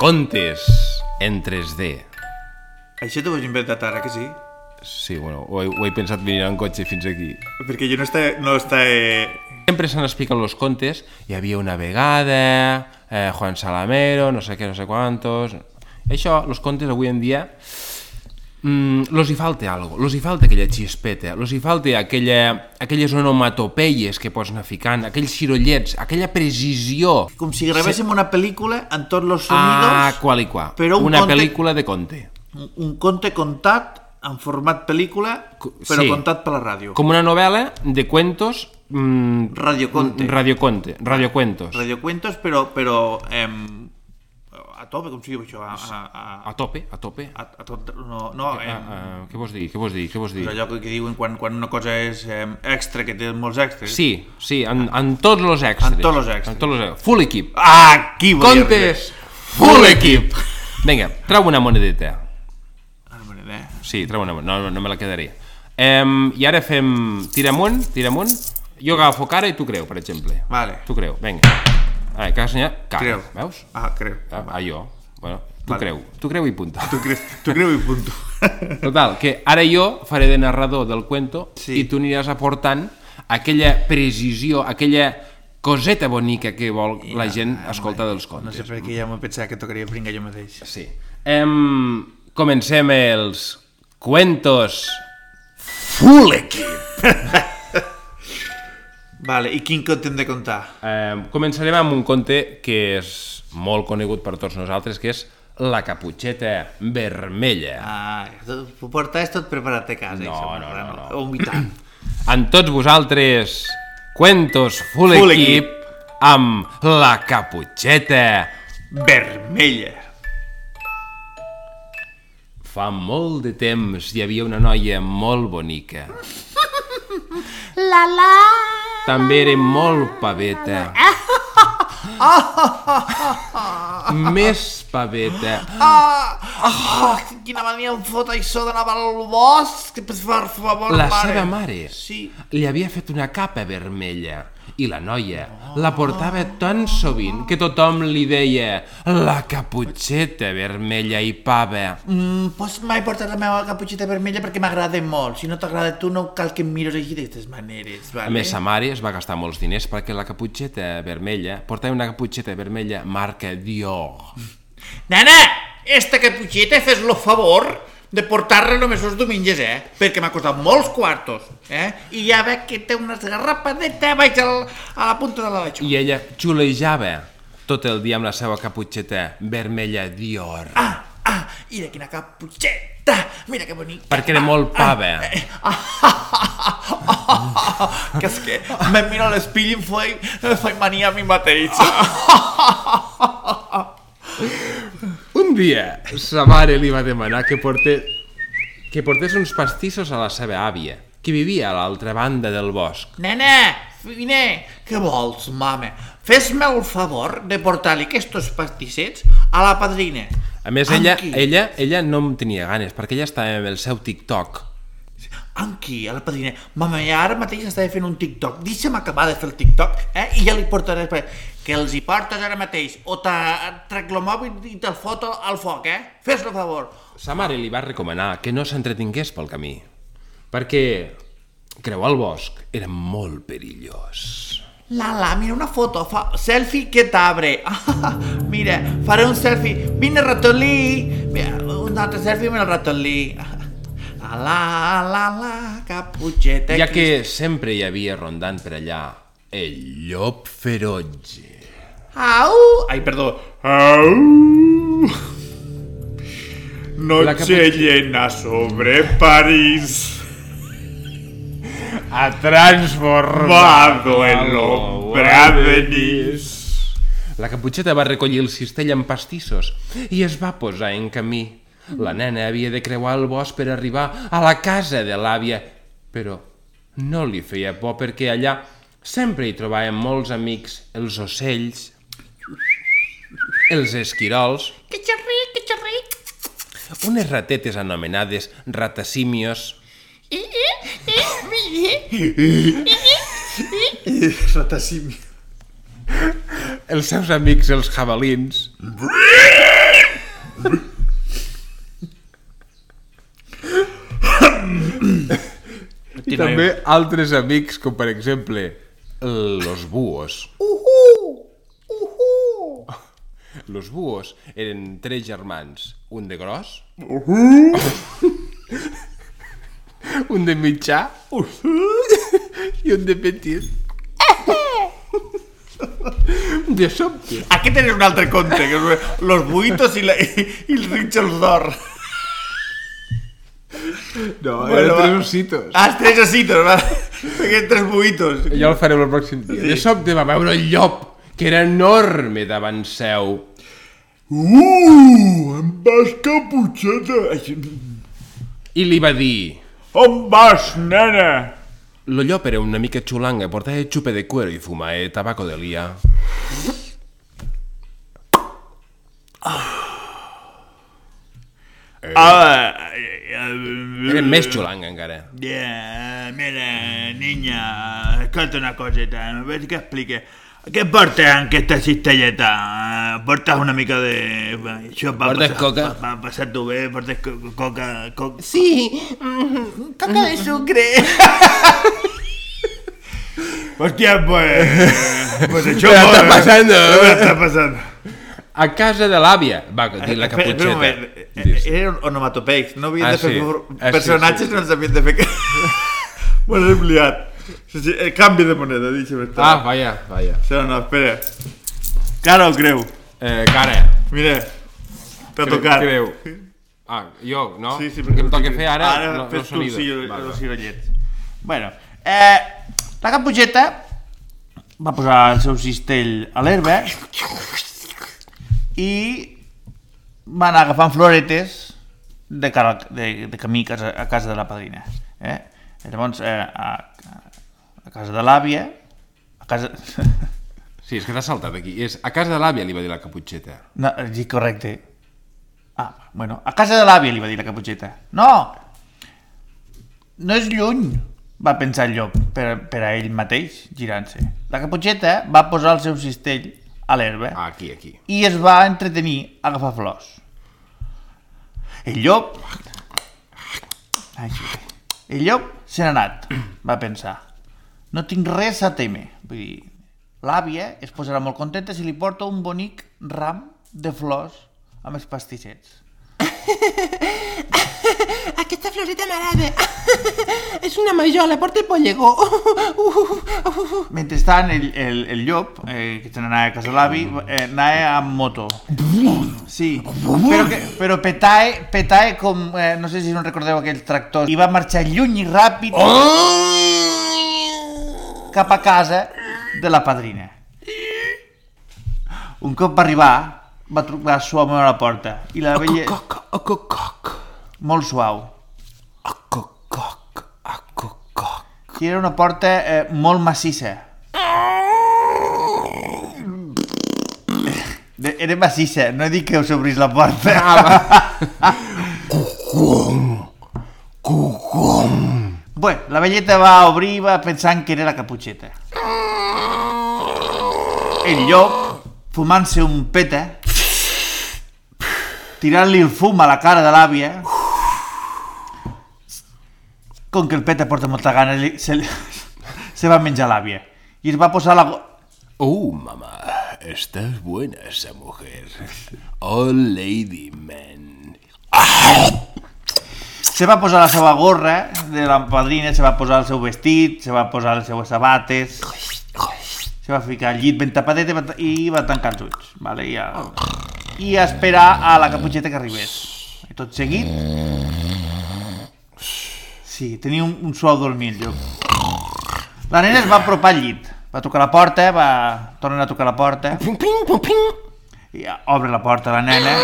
[SPEAKER 3] contes en 3D.
[SPEAKER 5] Això t'ho has inventat ara, que sí?
[SPEAKER 3] Sí, bueno, ho he, ho he pensat venir en cotxe fins aquí.
[SPEAKER 5] Perquè jo no està... No està eh...
[SPEAKER 3] Sempre se n'expliquen los contes. Hi havia una vegada, eh, Juan Salamero, no sé què, no sé quantos... Això, los contes avui en dia... Mm, los hi falta algo, los hi falta aquella xispeta, los hi falta aquella, aquelles onomatopeies que pots anar ficant, aquells cirollets, aquella precisió.
[SPEAKER 5] Com si gravéssim una pel·lícula amb tots
[SPEAKER 3] Ah,
[SPEAKER 5] els sonidos,
[SPEAKER 3] qual i qual.
[SPEAKER 5] però un
[SPEAKER 3] Una
[SPEAKER 5] conte-
[SPEAKER 3] pel·lícula de conte.
[SPEAKER 5] un, un conte contat en format pel·lícula,
[SPEAKER 3] Co-
[SPEAKER 5] però
[SPEAKER 3] sí.
[SPEAKER 5] contat per la ràdio.
[SPEAKER 3] Com una novel·la de cuentos... Mm,
[SPEAKER 5] Radioconte.
[SPEAKER 3] Radioconte, radiocuentos.
[SPEAKER 5] Radiocuentos, però, però em, a tope, com si diu això? A, a, a,
[SPEAKER 3] A tope, a tope.
[SPEAKER 5] a, a tot, no, no,
[SPEAKER 3] Ah,
[SPEAKER 5] em,
[SPEAKER 3] ah, què vols dir? Què vols dir? Què vols dir?
[SPEAKER 5] és allò que, que diuen quan, quan una cosa és em, extra, que té molts extras.
[SPEAKER 3] Sí, sí, en, en tots els extras.
[SPEAKER 5] En tots los extras. Ah,
[SPEAKER 3] En tots los extras. Full equip.
[SPEAKER 5] Aquí volia arribar.
[SPEAKER 3] Contes! Full equip! Vinga, trau una monedeta.
[SPEAKER 5] Ah, bueno, eh.
[SPEAKER 3] Sí, trau una monedeta. No, no me la quedaré. Um, I ara fem... Tira amunt, tira amunt. Jo agafo cara i tu creu, per exemple.
[SPEAKER 5] Vale.
[SPEAKER 3] Tu creu, vinga. Ah, que has ensenyat? Cara,
[SPEAKER 5] Creu.
[SPEAKER 3] veus?
[SPEAKER 5] Ah, creu.
[SPEAKER 3] Ah, ah, jo. Bueno, tu
[SPEAKER 5] Vale.
[SPEAKER 3] creu. Tu creu i punta.
[SPEAKER 5] Tu, cre tu creu i punto.
[SPEAKER 3] Total, que ara jo faré de narrador del cuento
[SPEAKER 5] Sí.
[SPEAKER 3] i tu aniràs aportant aquella precisió, aquella coseta bonica que vol la gent escoltar dels
[SPEAKER 5] No
[SPEAKER 3] contes.
[SPEAKER 5] sé per què ja m'ho pensava que tocaria pringar jo mateix.
[SPEAKER 3] Sí. Em... Comencem els cuentos.
[SPEAKER 5] Full equip! vale, i quin conte hem de contar?
[SPEAKER 3] Em... Començarem amb un conte que és molt conegut per tots nosaltres, que és La caputxeta vermella.
[SPEAKER 5] Ah, ho portaves tot preparat a casa.
[SPEAKER 3] No,
[SPEAKER 5] això,
[SPEAKER 3] no,
[SPEAKER 5] per tant,
[SPEAKER 3] no,
[SPEAKER 5] O mitad.
[SPEAKER 3] En tots vosaltres, cuentos full,
[SPEAKER 5] Full
[SPEAKER 3] equip, amb La caputxeta
[SPEAKER 5] Vermella.
[SPEAKER 3] Fa molt de temps hi havia una noia molt bonica.
[SPEAKER 7] La la.
[SPEAKER 3] També era molt paveta. Més paveta.
[SPEAKER 5] Oh, quina mania em fot això d'anar al bosc, per favor,
[SPEAKER 3] La
[SPEAKER 5] mare.
[SPEAKER 3] seva mare
[SPEAKER 5] Sí.
[SPEAKER 3] li havia fet una capa vermella i la noia la portava tan sovint que tothom li deia la caputxeta vermella i pava.
[SPEAKER 5] Mm, pots mai portar la meva caputxeta vermella perquè m'agrada molt. Si no t'agrada a tu, no cal que em mires així d'aquestes maneres, vale?
[SPEAKER 3] A més, sa mare es va gastar molts diners perquè la caputxeta vermella portava una caputxeta vermella marca Dior.
[SPEAKER 5] Nana, esta caputxeta, fes lo favor de portar-la només els diumenges, eh? Perquè m'ha costat molts quartos, eh? I ja veig que té una esgarrapadeta baix al, a la punta de la batxó.
[SPEAKER 3] I ella xulejava tot el dia amb la seva caputxeta vermella Dior.
[SPEAKER 5] Ah, ah, i de quina caputxeta! Mira que bonic! Ah,
[SPEAKER 3] Perquè era molt pava.
[SPEAKER 5] que és que me miro a l'espill i em faig, em faig mania a mi mateix.
[SPEAKER 3] Un dia, sa mare li va demanar que porté que portés uns pastissos a la seva àvia, que vivia a l'altra banda del bosc.
[SPEAKER 5] Nena, vine, què vols, mama? Fes-me el favor de portar-li aquests pastissets a la padrina.
[SPEAKER 3] A més, ella,
[SPEAKER 5] Amb qui?
[SPEAKER 3] ella, ella no en tenia ganes, perquè ella estava amb el seu TikTok.
[SPEAKER 5] Amb qui? A la padrina. Mama, ja ara mateix estava fent un TikTok. Deixa'm acabar de fer el TikTok, eh? I ja li portaré... per- Que els hi portes ara mateix. O te trec el mòbil i te'l foto al foc, eh? Fes-lo a favor.
[SPEAKER 3] Sa mare li va recomanar que no s'entretingués pel camí, perquè creuar el bosc era molt perillós.
[SPEAKER 5] Lala, mira una foto, fa selfie que t'abre. Ah, mira, faré un selfie. Vine, ratolí. Mira, un altre selfie amb el ratolí. Ah, la, la, la, caputxeta.
[SPEAKER 3] Ja que sempre hi havia rondant per allà el llop ferotge.
[SPEAKER 5] Au! Ai, perdó.
[SPEAKER 8] Au.
[SPEAKER 3] La
[SPEAKER 8] Noche
[SPEAKER 3] capu-
[SPEAKER 8] llena sobre París.
[SPEAKER 3] a transformar.
[SPEAKER 1] Vado el hombre a venir.
[SPEAKER 3] La caputxeta va recollir el cistell amb pastissos i es va posar en camí. La nena havia de creuar el bosc per arribar a la casa de l'àvia, però no li feia por perquè allà sempre hi trobàvem molts amics, els ocells, els esquirols,
[SPEAKER 9] Que xerric, que xerric.
[SPEAKER 3] unes ratetes anomenades ratacímios,
[SPEAKER 9] Eh, eh, eh, mire.
[SPEAKER 3] els seus amics, els jabalins, i també altres amics, com per exemple los búhos. Los búhos eren tres germans, un de gros, un de mitjà i un de petit. De sobte,
[SPEAKER 1] Aquest és un altre conte, que és los buitos i, la, i, i el Richard d'Or.
[SPEAKER 3] no,
[SPEAKER 1] Bueno,
[SPEAKER 3] eren
[SPEAKER 1] va.
[SPEAKER 3] tres ositos.
[SPEAKER 1] Ah, els tres acitos, va. Aquests tres buitos.
[SPEAKER 3] Ja el farem el pròxim dia. De sobte va veure el llop, que era enorme davant seu.
[SPEAKER 1] Uh, em vas caputxeta. Ai,
[SPEAKER 3] I li va dir...
[SPEAKER 1] On vas, nena?
[SPEAKER 3] Lo llop era una mica xulanga, portava xupe de cuero i fumava tabaco de lia.
[SPEAKER 1] Ah,
[SPEAKER 3] Era més xulanga encara.
[SPEAKER 1] Yeah, mira, Eh, niña, escolta una coseta, a veure què explica. Què portes en aquesta cistelleta? Eh, Portes una mica de... Això pa
[SPEAKER 3] Portes coca?
[SPEAKER 1] Pa, pa, passar-t'ho bé, portes co coca... Co
[SPEAKER 4] Sí,
[SPEAKER 9] Coca de sucre.
[SPEAKER 1] Hòstia, pues... pues això...
[SPEAKER 3] Però
[SPEAKER 1] vol,
[SPEAKER 3] està
[SPEAKER 1] eh?
[SPEAKER 3] passant, eh?
[SPEAKER 1] Però Està passant.
[SPEAKER 3] A casa de l'àvia, va dir
[SPEAKER 1] Espera- espera
[SPEAKER 3] la
[SPEAKER 1] un
[SPEAKER 3] caputxeta.
[SPEAKER 1] moment,
[SPEAKER 3] Dius,
[SPEAKER 1] eh, Eren onomatopeics, no havien
[SPEAKER 3] Ah,
[SPEAKER 1] de fer
[SPEAKER 3] sí.
[SPEAKER 1] for-
[SPEAKER 3] Ah, sí,
[SPEAKER 1] personatges, no ens havien de fer... Bueno, hem liat. Sí, sí, eh, canvi de moneda, deixa'm estar.
[SPEAKER 3] Ah, vaya, vaya.
[SPEAKER 1] No, no, espera. Cara o creu?
[SPEAKER 3] Eh, cara.
[SPEAKER 1] Mira, t'ha
[SPEAKER 3] Creu-
[SPEAKER 1] tocat.
[SPEAKER 3] Creu. Ah, jo, no?
[SPEAKER 1] Sí, sí,
[SPEAKER 3] El que em toca
[SPEAKER 1] sí.
[SPEAKER 3] fer ara,
[SPEAKER 1] Ara
[SPEAKER 3] no, no
[SPEAKER 1] fes tu,
[SPEAKER 3] sonido.
[SPEAKER 1] sí, jo,
[SPEAKER 3] Vale,
[SPEAKER 1] jo
[SPEAKER 3] va.
[SPEAKER 1] sí, Gallet. Bueno, eh, la caputxeta va posar el seu cistell a l'herba i va anar agafant floretes de, cara, al- de, de camí a casa, a casa de la padrina. Eh? I Llavors, eh, a, a casa de l'àvia, a casa...
[SPEAKER 3] Sí, és que t'has saltat aquí. És a casa de l'àvia li va dir la caputxeta.
[SPEAKER 1] No, sí, correcte. Ah, bueno, a casa de l'àvia li va dir la caputxeta. No! No és lluny, va pensar el llop per, per a ell mateix, girant-se. La caputxeta va posar el seu cistell a l'herba
[SPEAKER 3] Ah, aquí, aquí.
[SPEAKER 1] i es va entretenir a agafar flors. El llop... Ai, sí. el llop se n'ha anat, va pensar. No tinc res a temer. Vull dir, l'àvia es posarà molt contenta si li porto un bonic ram de flors amb els pastissets.
[SPEAKER 4] aquesta floreta m'agrada. És una majola, porta pollegó.
[SPEAKER 1] Mentrestant, el, el, el llop, eh, que se n'anava a casa de l'avi, eh, anava amb moto. Sí, però, que, però petae, petae com... Eh, no sé si no recordeu aquell tractor. I va marxar lluny i ràpid cap a casa de la padrina. Un cop va arribar, va trucar suaument a la porta. I la vella...
[SPEAKER 4] Coc, a coc, coc,
[SPEAKER 1] Molt suau.
[SPEAKER 4] a coc, coc, a coc, coc.
[SPEAKER 1] I era una porta eh, molt massissa. De- Era massissa, no he dit que us obrís la porta. Bé, la velleta va obrir va pensant que era la caputxeta. El llop, fumant-se un peta, tirant-li el fum a la cara de l'àvia, com que el peta porta molta gana, li- se, li- se va menjar l'àvia. I es va posar la... go-
[SPEAKER 3] Oh, mamá, estás buena esa mujer. Oh, lady man.
[SPEAKER 1] Se va posar la seva gorra de la padrina, se va posar el seu vestit, se va posar les seues sabates... Se va ficar al llit ben tapadet i va, ta- i va tancar els ulls. Vale, i, a, I a esperar a la caputxeta que arribés. I tot seguit... Sí, tenia un, un suau dormir, jo. La nena es va apropar al llit. Va tocar la porta, eh, va... Torna a tocar la porta.
[SPEAKER 6] Pum, pim, pum, pim.
[SPEAKER 1] I obre la porta la nena.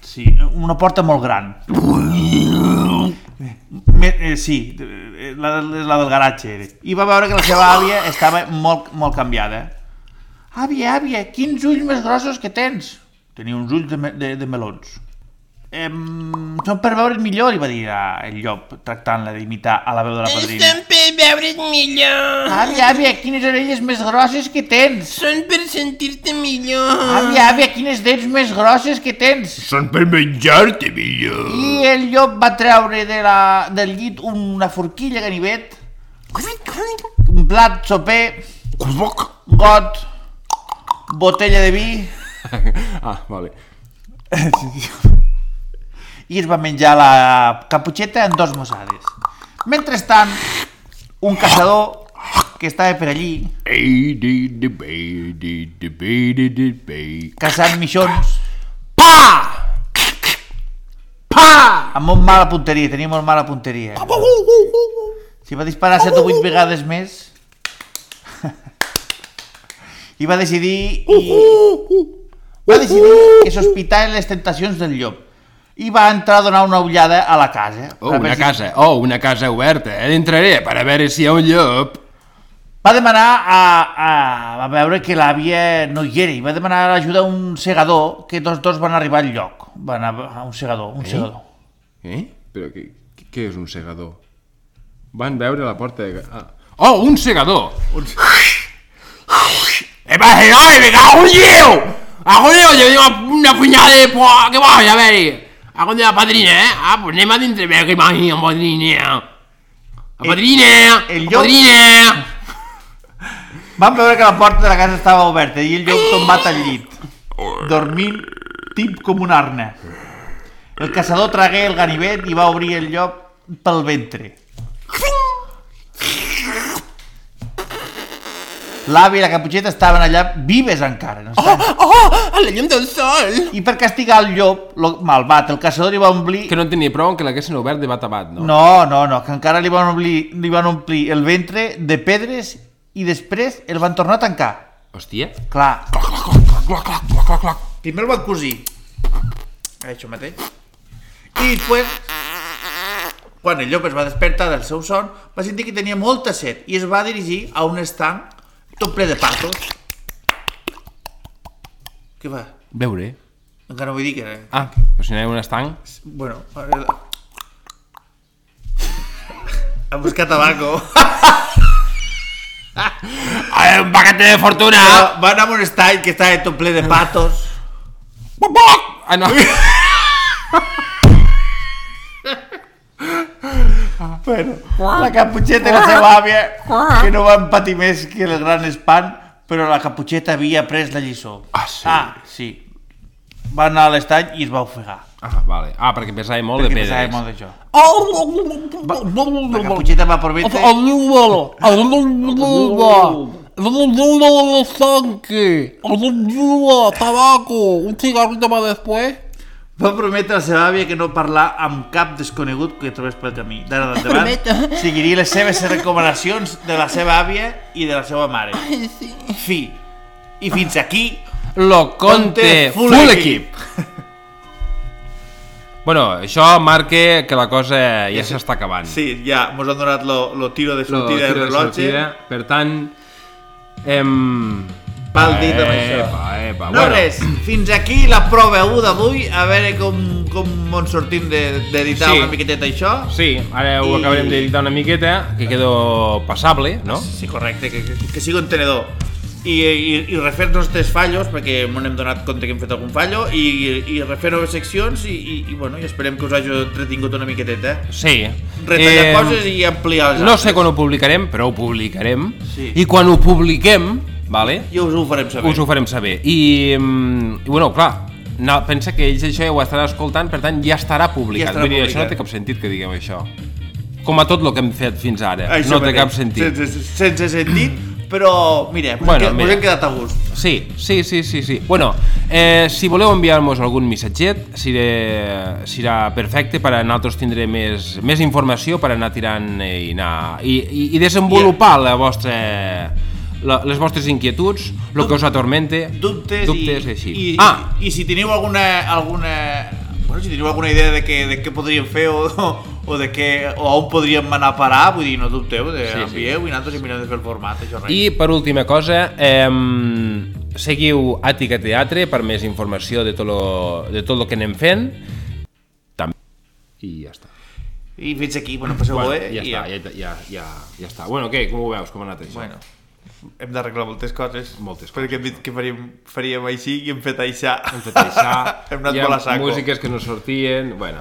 [SPEAKER 1] Sí, una porta molt gran. Me- eh, Sí, eh, la, del- la del garatge. era. I va veure que la seva àvia estava molt, molt canviada. Àvia, àvia, quins ulls més grossos que tens! Tenia uns ulls de, me- de, de melons. Em, són per veure's millor, li va dir ah, el llop, tractant-la d'imitar a la veu de la padrina.
[SPEAKER 10] Estan per veure't millor.
[SPEAKER 1] Àvia, àvia, quines orelles més grosses que tens!
[SPEAKER 10] Són per sentir-te millor.
[SPEAKER 1] Àvia, àvia, quines dents més grosses que tens!
[SPEAKER 5] Són per menjar-te millor.
[SPEAKER 1] I el llop va treure de la, del llit una forquilla ganivet, un plat soper, got, botella de vi,
[SPEAKER 3] Ah, vale.
[SPEAKER 1] i es va menjar la caputxeta en dos mossades. Mentrestant, un caçador que estava per allí, caçant mixons,
[SPEAKER 3] Pa! Pa!
[SPEAKER 1] amb molt mala punteria, tenia molt mala punteria. Si va disparar 7 o 8 vegades més... I va decidir... I... Va decidir que sospitar les tentacions del llop. I va entrar a donar una ullada a la casa.
[SPEAKER 3] Oh,
[SPEAKER 1] per
[SPEAKER 3] una
[SPEAKER 1] veure si-
[SPEAKER 3] casa, oh, una casa oberta. Entraré per a veure si hi ha un llop.
[SPEAKER 1] Va demanar a, a... Va veure que l'àvia no hi era i va demanar l'ajuda a un segador que tots dos van arribar al lloc. Van a, a un segador, un segador.
[SPEAKER 3] Eh? Però què, què és un segador? Van veure la porta de... Ah. Oh, un segador!
[SPEAKER 4] ¡Es para cenar, me cago en Dios! ¡A coño, yo digo
[SPEAKER 3] "Oh,
[SPEAKER 4] una puñada de po... ¡Qué guay, a ver! ¡A coño la padrina, eh! ¡Ah, pues no más de entrever que imagino, padrina! ¡A padrina!
[SPEAKER 1] el
[SPEAKER 4] ¡A
[SPEAKER 1] yo-
[SPEAKER 4] padrina!
[SPEAKER 1] Van veure que la porta de la casa estava oberta i el llop tombat al llit, dormint tip com un arna. El caçador tragué el ganivet i va obrir el llop pel ventre. L'avi i la caputxeta estaven allà vives encara. No oh!
[SPEAKER 10] Oh, a la llum del sol.
[SPEAKER 1] I per castigar el llop, lo malvat, el caçador li va omplir...
[SPEAKER 3] Que no en tenia prou que l'haguessin obert de bat a bat, no?
[SPEAKER 1] No, no, no, que encara li van, omplir, li van omplir el ventre de pedres i després el van tornar a tancar.
[SPEAKER 3] Hòstia.
[SPEAKER 1] Clar,
[SPEAKER 5] Primer el van cosir.
[SPEAKER 1] Això mateix. I després, quan el llop es va despertar del seu son, va sentir que tenia molta set i es va dirigir a un estanc tot ple de patos. Què va?
[SPEAKER 3] Veure.
[SPEAKER 1] Encara no vull dir que era... eh?
[SPEAKER 3] Ah, però si no hi ha un estanc...
[SPEAKER 1] Bueno, a veure... A buscar tabaco.
[SPEAKER 4] ¡A ver, un paquete de fortuna!
[SPEAKER 1] Va anar a un estany que estava tot ple de patos.
[SPEAKER 3] Ah, no.
[SPEAKER 1] Bueno, la caputxeta i la seva àvia, que no van patir més que el gran espant, però la caputxeta havia après la lliçó.
[SPEAKER 3] Ah, sí?
[SPEAKER 1] Ah, sí. Va anar a l'estany i es va ofegar.
[SPEAKER 3] Ah, vale. Ah, perquè pesava molt
[SPEAKER 1] Perquè
[SPEAKER 3] de pedres.
[SPEAKER 1] pensava molt d'això. La caputxeta va prometre... Va prometre a la seva àvia que no parlar amb cap desconegut que trobés pel camí. D'ara d'endavant, seguiria les seves recomanacions de la seva àvia i de la seva mare. Fi. I fins aquí...
[SPEAKER 3] Lo conte full, equip. Bueno, això marca que la cosa ja s'està acabant.
[SPEAKER 5] Sí, ja, mos han donat lo, lo tiro de
[SPEAKER 3] Lo tiro
[SPEAKER 5] sortida del
[SPEAKER 3] de
[SPEAKER 5] rellotge.
[SPEAKER 3] sortida. Per tant, em...
[SPEAKER 1] Pal dit amb això.
[SPEAKER 3] Epa, epa.
[SPEAKER 1] No Eh, bueno. res, fins aquí la prova 1 d'avui, a veure com, com ens sortim de- d'editar de,
[SPEAKER 3] Sí.
[SPEAKER 1] sí. una miqueteta això.
[SPEAKER 3] Sí, ara ho
[SPEAKER 1] I-
[SPEAKER 3] acabarem d'editar una miqueta, que quedo passable, no?
[SPEAKER 1] Sí, correcte, que, que, que sigui un tenedor. I, i, i refer els nostres fallos, perquè m'on hem donat compte que hem fet algun fallo, i, i, i refer noves seccions i, i, i, bueno, i esperem que us hagi entretingut una miqueteta. eh?
[SPEAKER 3] Sí.
[SPEAKER 1] Retallar
[SPEAKER 3] Em,
[SPEAKER 1] coses i ampliar els
[SPEAKER 3] Eh, No
[SPEAKER 1] altres.
[SPEAKER 3] sé quan ho publicarem, però ho publicarem.
[SPEAKER 1] Sí.
[SPEAKER 3] I quan ho publiquem, vale,
[SPEAKER 1] I us ho farem saber.
[SPEAKER 3] us ho farem saber. I, mm, i bueno, clar, no, pensa que ells això ja ho estarà escoltant, per tant ja estarà publicat.
[SPEAKER 1] estarà
[SPEAKER 3] Vull dir, això no
[SPEAKER 1] publicat.
[SPEAKER 3] té cap sentit que diguem això. Com a tot el que hem fet fins ara.
[SPEAKER 1] Això
[SPEAKER 3] no té
[SPEAKER 1] mateix.
[SPEAKER 3] cap sentit.
[SPEAKER 1] Sense, sense sentit, però mira, pues
[SPEAKER 3] Bueno,
[SPEAKER 1] bueno,
[SPEAKER 3] mira.
[SPEAKER 1] mira. hem quedat a gust.
[SPEAKER 3] Sí, sí, sí, sí, sí. Bueno, eh, si voleu enviar-nos algun missatget, seré, serà perfecte per a nosaltres tindré més, més informació per anar tirant i, anar, i, i, i desenvolupar la vostra, la, les vostres inquietuds, el que us atormente,
[SPEAKER 1] Dubtes,
[SPEAKER 3] dubtes
[SPEAKER 1] i,
[SPEAKER 3] i així.
[SPEAKER 1] I,
[SPEAKER 3] ah,
[SPEAKER 1] i, i, si teniu alguna, alguna Bueno, si teniu alguna idea de què, de què podríem fer o, o, de què, o on podríem anar a parar, vull dir, no dubteu, de, sí,
[SPEAKER 3] Sí, sí.
[SPEAKER 1] envieu i nosaltres hi mirem de fer el format, això res.
[SPEAKER 3] I per última cosa, ehm, seguiu Àtica Teatre per més informació de tot lo, de tot lo que anem fent. També. I ja està.
[SPEAKER 1] I fins aquí, bueno, passeu
[SPEAKER 3] Bueno,
[SPEAKER 1] bé.
[SPEAKER 3] ja, està ja, ja, ja, ja està. Bueno, què? Com ho veus? Com ha anat això?
[SPEAKER 1] Bueno, hem d'arreglar moltes coses.
[SPEAKER 3] Moltes
[SPEAKER 1] Perquè hem dit que faríem, faríem així i hem fet aixà.
[SPEAKER 3] Hem fet això,
[SPEAKER 1] hem anat
[SPEAKER 3] hi ha
[SPEAKER 1] molt a saco.
[SPEAKER 3] músiques que no sortien... Bueno,